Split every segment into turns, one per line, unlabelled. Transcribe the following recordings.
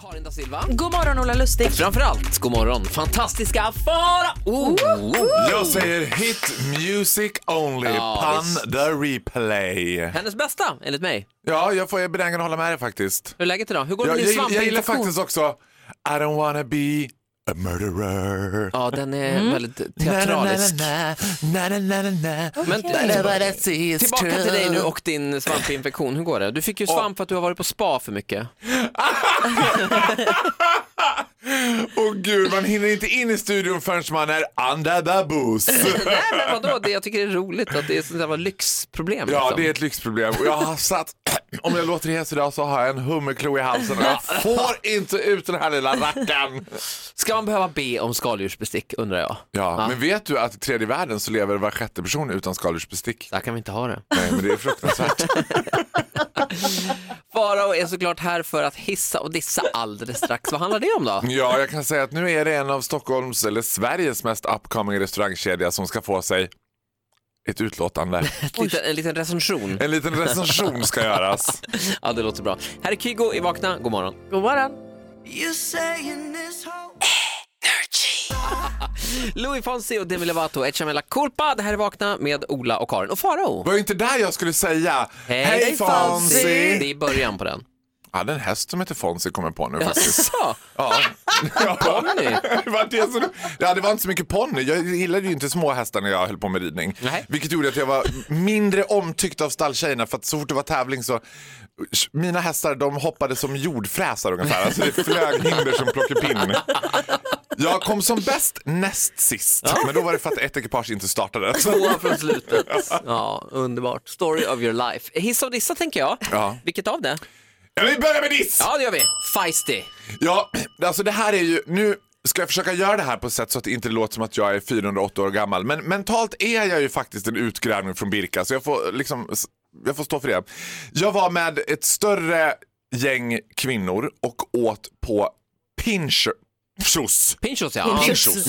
Karin da Silva.
God morgon Ola Lustig.
Framförallt, god morgon, fantastiska fara! Oh, oh.
Jag säger hit music only,
Ja,
pan
visst.
the replay.
Hennes bästa, enligt mig.
Ja, jag får jag är benägen att hålla med dig faktiskt.
Hur är läget idag? Hur går det
Jag,
med din
jag, jag gillar
svampinfektion?
faktiskt också I don't wanna be a murderer.
Ja, den är väldigt teatralisk.
Na, na, na, na, na, na, na.
Men
But I see it's
tillbaka till
true.
dig nu och din svampinfektion. Hur går det? Du fick ju svamp för att du har varit på spa för mycket.
Åh gud, man hinner inte in i studion förrän man är under the bus.
Nej, men vadå? Det, jag tycker det är roligt att det är sådana lyxproblem.
Ja,
liksom.
det är ett lyxproblem. Och jag har satt, om jag låter hes idag så har jag en hummerklo i halsen och jag får inte ut den här lilla rackaren.
Ska man behöva be om skaldjursbestick, undrar jag?
Ja, men vet du att i tredje världen så lever var sjätte person utan skaldjursbestick?
Där kan vi inte ha det.
Nej, men det är fruktansvärt.
Farao är såklart här för att hissa och dissa alldeles strax. Vad handlar det om då?
Ja, jag kan säga att nu är det en av Stockholms, eller Sveriges mest upcoming restaurangkedja som ska få sig ett utlåtande.
Ett liten, en liten recension.
En liten recension ska göras.
Ja, det låter bra. Här är Kygo i Vakna. God morgon.
God morgon.
Louis Fonsi och Demi Lovato, Echa Mela Culpa. Det här är Vakna med Ola och Karin och Farao.
var ju inte där jag skulle säga. Hej
Det är
Fonzie!
i början på den.
Jag hade en häst som hette Fonzie kommer jag på nu faktiskt.
Så,
Ja. Ja.
Ponny.
Det var det som- ja, det var inte så mycket ponny. Jag gillade ju inte små hästar när jag höll på med ridning.
Nej.
Vilket gjorde att jag var mindre omtyckt av stalltjejerna för att så fort det var tävling så mina hästar de hoppade som jordfräsar ungefär. Alltså det flög hinder som plockepinn. Jag kom som bäst näst sist, men då var det för att ett ekipage inte startade. Så-
tvåa från slutet. Ja, underbart. Story of your life. Hissa och dissa tänker jag.
Ja.
Vilket av det?
Ja, vi börjar med diss!
Ja, det gör vi. Feisty.
Ja, alltså det här är ju, nu ska jag försöka göra det här på ett sätt så att det inte låter som att jag är 408 år gammal. Men mentalt är jag ju faktiskt en utgrävning från Birka, så jag får liksom, jag får stå för det. Jag var med ett större gäng kvinnor och åt på Pinchos.
Pinchos ja.
Pinchos.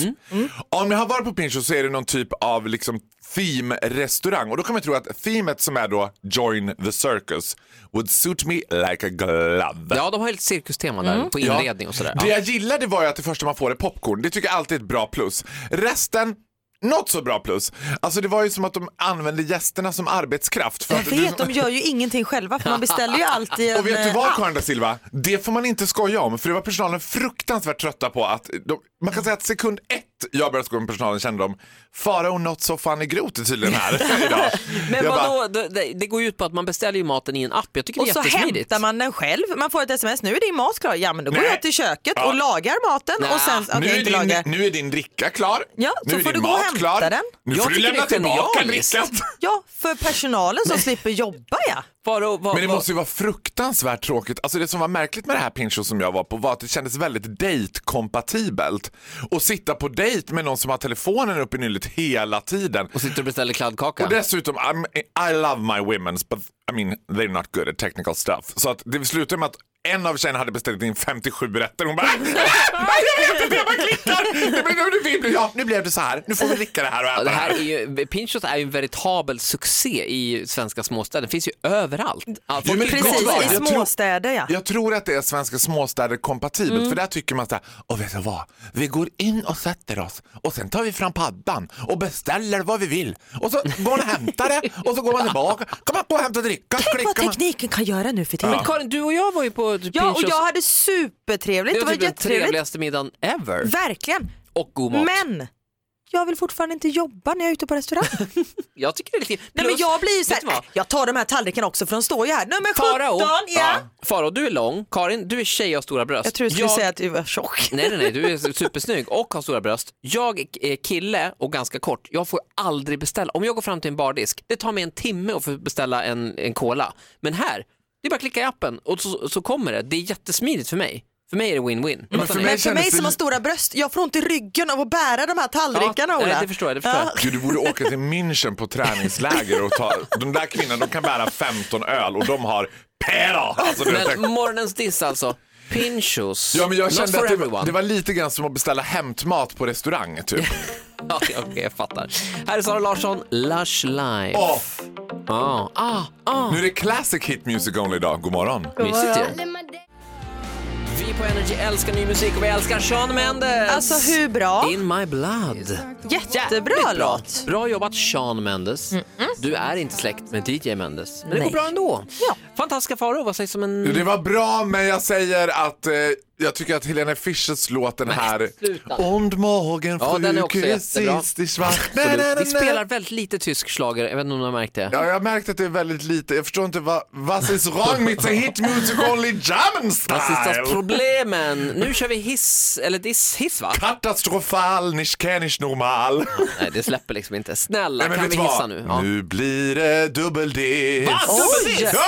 Om jag har varit på Pinchos så är det någon typ av liksom theme-restaurang. Och då kan man tro att themet som är då Join the Circus would suit me like a glove.
Ja, de har ju lite cirkustema där på
Mm. Ja.
inredning och sådär.
Det
Ja.
jag gillade var ju att det första man får är popcorn. Det tycker jag alltid är ett bra plus. Resten, något så bra plus. Alltså det var ju som att de använde gästerna som arbetskraft. För
Jag
att
vet,
du,
de gör ju ingenting själva för man beställer ju alltid en...
och vet du vad
eh,
Karin da Silva? Det får man inte skoja om för det var personalen fruktansvärt trötta på att de, man kan säga att sekund ett jag började skoja med personalen kände de Farao not so funny grot är tydligen här idag.
Men
Jag bara,
vadå, det- det, det går ju ut på att man beställer ju maten i en app. Jag tycker
Och
det är
så
jättesmidigt.
hämtar man den själv. Man får ett sms, nu är din mat klar. Ja men då går
Nej.
jag till köket
Ja.
och lagar maten
Nej.
och sen, okej
nu, är
inte
din,
lagar.
nu är din dricka klar.
Ja,
nu
så
är
får
din
du gå och
mat
hämta
klar.
den.
Nu
Jag
får du
tycker det
lämna
är
tillbaka
genialiskt.
drickan.
Ja, för personalen som slipper jobba ja.
Farao, vad,
Men det
vad-
måste ju vara fruktansvärt tråkigt. Alltså det som var märkligt med det här Pinchos som jag var på var att det kändes väldigt dejtkompatibelt. Att sitta på dejt med någon som har telefonen uppe i nyllet hela tiden.
Och sitter och beställer kladdkaka.
Och dessutom, I'm, I love my women's but I mean they're not good at technical stuff. Så att det slutade med att en av tjejerna hade beställt in 57 rätter hon bara Nej, jag vet inte, jag bara klickar. Det blev, nu, blev, ja, nu blev det så här, nu får vi dricka det här och äta
Ja,
det
det här
här.
är ju, Pinchos är ju en veritabel succé i svenska småstäder. Det finns ju överallt. Allt
Jo, men
folk-
vet du
Precis,
vad?
i
Jag tror-
småstäder ja.
Jag tror att det är svenska småstäder kompatibelt
Mm.
för där tycker man så här, och vet du vad, vi går in och sätter oss och sen tar vi fram paddan och beställer vad vi vill och så går man och hämtar det och så går man tillbaka, kan man gå och hämta dricka,
Tänk vad
klickar man.
tekniken kan göra nu för tiden.
Men Karin, du och jag var ju på Pinchos.
Ja och jag hade supertrevligt,
det
det
var
var
typ den
jättetrevligt.
trevligaste middagen ever.
Verkligen.
Och god mat.
Men jag vill fortfarande inte jobba när jag är ute på restaurang.
Jag tycker det är lite... Plus,
Nej, men jag blir ju
vet du vad?
såhär, jag tar de här tallrikarna också för de står ju här. Nummer 17,
Farao,
ja.
Farao, du är lång. Karin, du är tjej och har stora bröst.
Jag tror du skulle säga att du var tjock.
Nej, nej, nej, du är supersnygg och har stora bröst. Jag är kille och ganska kort. Jag får aldrig beställa. Om jag går fram till en bardisk, det tar mig en timme att få beställa en, en cola. Men här, det är bara att klicka i appen och så, så kommer det. Det är jättesmidigt för mig. För mig är det win-win.
men
Fattar
för
ni?
mig
Men för
kändes
mig
det
som har
li-
stora bröst, jag får ont i ryggen av att bära de här tallrikarna
Ja,
Ola.
nej, det förstår jag, det förstår jag.
Gud, du borde åka till München på träningsläger och ta, de där kvinnorna de kan bära 15 öl och de har pera. Alltså, du vet,
Men morgonens diss alltså. Pinchos.
Ja, men jag
Not
kände
for
att det,
everyone.
var- det var lite grann som att beställa hämtmat på restaurang typ.
Ja, Okej, jag fattar. Här är Sara Larsson, Lush Life.
Off.
Ah, ah, ah.
Nu är det classic hit music only idag, god morgon.
Mysigt ju. Vi på Energy älskar ny musik och vi älskar Sean Mendes.
Alltså hur bra?
In my blood.
Jättebra
Bra.
låt.
bra jobbat Sean Mendes. Du är inte släkt med DJ Mendes. Men det går
Nej.
bra ändå.
Ja.
Fantastiska faror, vad sägs om en...
Det var bra, men jag säger att eh, jag tycker att Helena Fischers låt den här...
sluta.
Und morgen,
Ja, den är också
Frühkes
jättebra.
ist die Schwarz- Nej, nej,
Absolut. Vi
nej, nej.
spelar väldigt lite tysk schlager, jag vet inte om du har märkt det.
Ja, jag har märkt att det är väldigt lite. Jag förstår inte vad... What is wrong with the hit music only German
Rasistas
style?
problemen. Nu kör vi hiss, eller diss, hiss va?
Katastrofal, nicht kenn ich normal.
Nej, det släpper liksom inte. Snälla,
Nej, men
kan
vet
vi
du vad?
hissa nu? Ja.
Nu blir det dubbeldiss.
Va?
Oj!
Dubbeldiss?
Ja!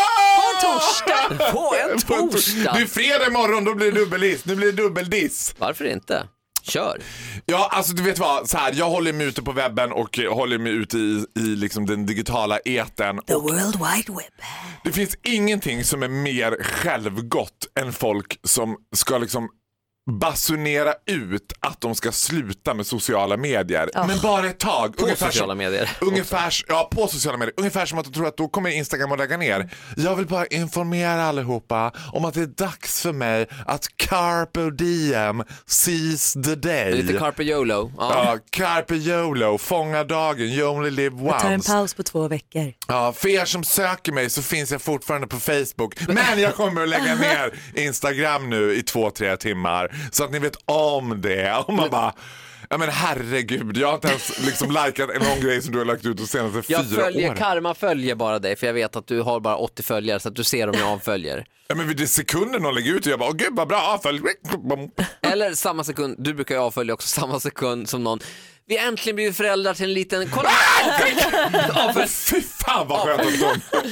Torsdag!
På en torsdag?
Det är fredag imorgon, då blir det dubbeldiss. Nu blir det dubbeldiss.
Varför inte? Kör.
Ja, alltså du vet vad, så här, jag håller mig ute på webben och eh, håller mig ute i, i liksom den digitala etern.
The World Wide Web.
Det finns ingenting som är mer självgott än folk som ska liksom basunera ut att de ska sluta med sociala medier. Men bara ett tag.
På
Ungefär som-
sociala medier.
Ungefär, ja, på sociala medier. Ungefär som att de tror att då kommer Instagram att lägga ner. Jag vill bara informera allihopa om att det är dags för mig att carpe diem seize the day.
Lite Carpe Yolo. Ja.
Ja, carpe YOLO, fånga dagen, you only live once.
paus på två veckor.
Ja, för er som söker mig så finns jag fortfarande på Facebook. Men jag kommer att lägga ner Instagram nu i två, tre timmar. Så att ni vet om det. Och man bara, ja men herregud, jag har inte ens liksom likat någon grej som du har lagt ut de senaste
Jag
fyra
följer,
åren.
karma följer bara dig för jag vet att du har bara 80 följare så att du ser om jag avföljer.
Ja, men vid det sekunden någon lägger ut och jag bara, åh gud vad bra, ja, följ.
Eller samma sekund, du brukar ju avfölja också samma sekund som någon. Vi har äntligen blivit föräldrar till en liten, kolla!
Åh, Fy fan vad skönt att de...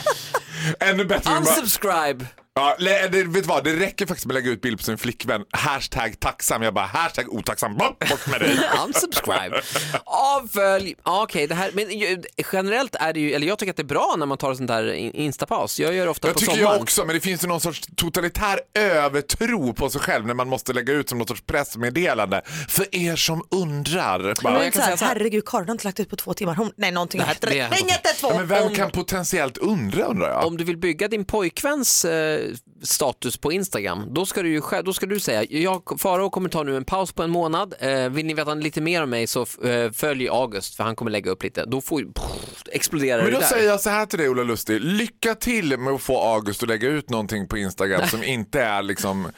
Ännu
Alltså,
bättre än bara...
Unsubscribe!
Ja, le- det, vet du vad, det räcker faktiskt med att lägga ut bild på sin flickvän. Hashtag tacksam. Jag bara hashtag otacksam. Bort, bort med dig.
Unsubscribe. Avfölj. Ja, Okej, det här, men ju- generellt är det ju, eller jag tycker att det är bra när man tar sånt här in- instapaus. Jag gör det ofta
Jag
på
tycker
sommaren.
jag också, men det finns ju någon sorts totalitär övertro på sig själv när man måste lägga ut som någon sorts pressmeddelande. För er som undrar. Bara,
Men så här, herregud, Karin har inte lagt ut på två timmar. Hon, nej, någonting har hänt.
det är-
Nej, inte två.
ja, men vem kan potentiellt undra undrar jag?
Om du vill bygga din pojkväns eh, status på Instagram, då ska du ju själv, då ska du säga, jag, Farao kommer ta nu en paus på en månad, eh, vill ni veta lite mer om mig så f- eh, följ August för han kommer lägga upp lite. Då får, pff, exploderar
Men
det
då
där.
säger jag så här till dig Ola Lustig. Lycka till med att få August att lägga ut någonting på Instagram som inte är liksom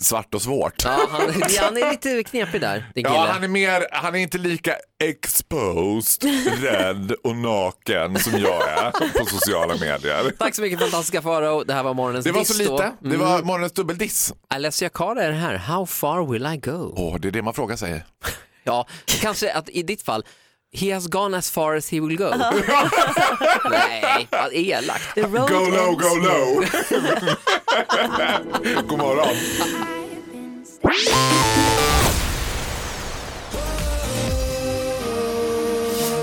svart och svårt.
Ja, han, han är lite knepig där, din kille.
Ja, han är, mer, han är inte lika exposed, rädd och naken som jag är på sociala medier.
Tack så mycket fantastiska Farao, det här var morgonens
Det var så
diss
lite.
Då. Mm.
Det var morgonens dubbeldiss.
Alessia Cara är här, How far will I go?
Åh, det är det man frågar sig.
Ja, kanske att i ditt fall, He has gone as far as he will go. Nej, vad elakt.
The road
Go low,
ends
go low. God morgon.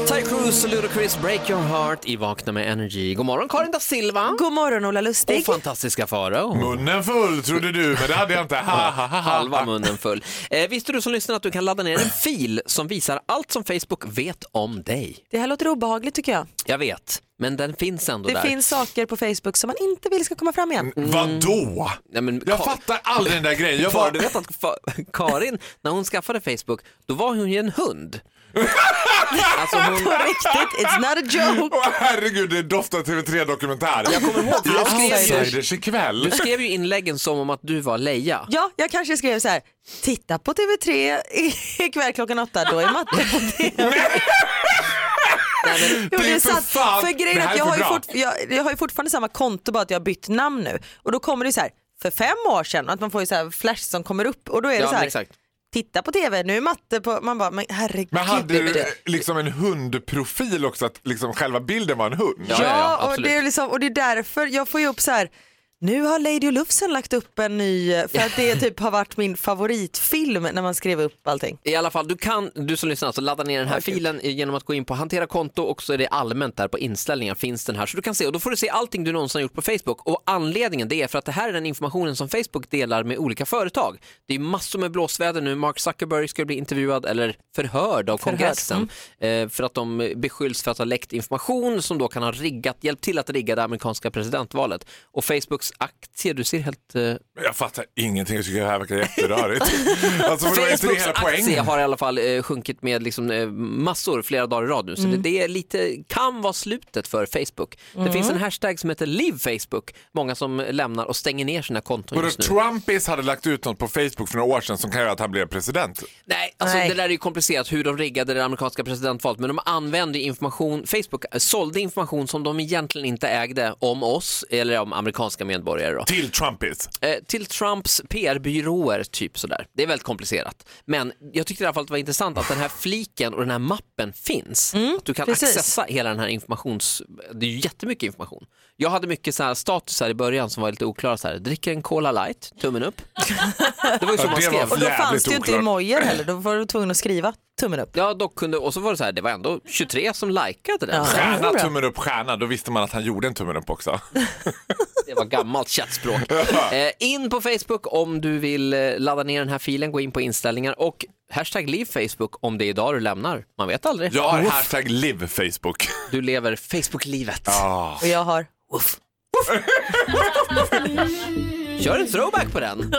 Ty Cruz och Ludacris Break Your Heart i Vakna med Energy. God morgon Karin da Silva.
God morgon Ola
Och
Lustig.
fantastiska Farao.
Munnen full trodde du, men det hade jag inte. Ha, ha, ha, ha.
Halva munnen full. Eh, visste du som lyssnar att du kan ladda ner en fil som visar allt som Facebook vet om dig?
Det här låter obehagligt tycker jag.
Jag vet, men den finns ändå
Det
där.
finns saker på Facebook som man inte vill ska komma fram
Mm.
igen.
Vadå?
Mm. Nej, men
Jag
Ka-
fattar aldrig den där grejen. Jag
Far,
bara,
du vet att fa- Karin, när hon skaffade Facebook, då var hon ju en hund. Alltså hon,
På riktigt, it's not a joke.
Åh, herregud, det doftar TV3-dokumentär. Jag kommer ihåg
jag skrev ju-
Outsiders ikväll.
du skrev ju inläggen som om att du var Leia.
Ja, jag kanske skrev så här, titta på TV3 i- ikväll klockan åtta, då är matte på TV.
Nej, men,
Jo,
Det är för
sant.
fan-
för grejen är
det här
att
är
jag
för
har, ju
bra.
fort, jag, jag har ju fortfarande samma konto bara att jag har bytt namn nu. Och då kommer det så här, för fem år sedan, att man får ju så här flash som kommer upp och då är det
ja,
så
men
här,
exakt.
titta på TV, nu är matte på, man bara, men herregud.
Men hade
det-
du liksom en hundprofil också, att liksom själva bilden var en hund?
Ja,
Ja, och,
absolut.
det är liksom, och det är därför jag får ju upp så här, nu har Lady och Lufsen lagt upp en ny, för att det typ har varit min favoritfilm när man skrev upp allting.
I alla fall, du kan, du som lyssnar, alltså ladda ner den här filen genom att gå in på hantera konto och så är det allmänt där på inställningar finns den här. Så du kan se och då får du se allting du någonsin har gjort på Facebook och anledningen det är för att det här är den informationen som Facebook delar med olika företag. Det är massor med blåsväder nu. Mark Zuckerberg ska bli intervjuad eller förhörd av kongressen eh, för att de beskylls för att ha läckt information som då kan ha riggat, hjälpt till att rigga det amerikanska presidentvalet. Och Facebooks Facebooks-aktier. Du ser helt... Eh,
Jag fattar ingenting, jag tycker det här verkar jätterörigt. alltså, men det var inte det
Facebooks
hela
aktie
poängen.
har i alla fall eh, sjunkit med liksom, eh, massor flera dagar i rad nu. Så det, det är lite, kan vara slutet för Facebook. Det finns en hashtag som heter Live Facebook. Många som lämnar och stänger ner sina konton
Både
just nu.
Trumpis hade lagt ut något på Facebook för några år sedan som kan göra att han blev president.
Nej, alltså
Nej.
det där är ju komplicerat hur de riggade det amerikanska presidentvalet. Men de använde ju information, Facebook eh, sålde information som de egentligen inte ägde om oss eller om amerikanska medborgare. Då.
Till Trumpis.
Eh, till Trumps PR-byråer, typ sådär. Det är väldigt komplicerat. Men jag tyckte i alla fall att det var intressant att den här fliken och den här mappen finns. att du kan
Mm, precis.
accessa hela den här informations... Det är ju jättemycket information. Jag hade mycket så här statusar i början som var lite oklara. Så här, dricker en Cola light, tummen upp. Det var ju så
Ja,
man
det var
skrev.
Och då
Jävligt
fanns det ju inte
oklart.
emojor heller, då var du tvungen att skriva tummen upp.
Ja, dock kunde, och så var det så här, det var ändå 23 som likade den.
Ja.
Stjärna,
Jodå.
tummen upp, stjärna. Då visste man att han gjorde en tummen upp också.
Det var gammalt chattspråk. Eh, in på Facebook om du vill eh, ladda ner den här filen, gå in på inställningar och hashtag liv Facebook om det är idag du lämnar. Man vet aldrig.
Jag har
Woof.
hashtag live Facebook.
Du lever Facebook-livet.
Ah.
Och jag har
Kör en throwback på den.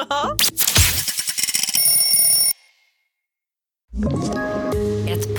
Ett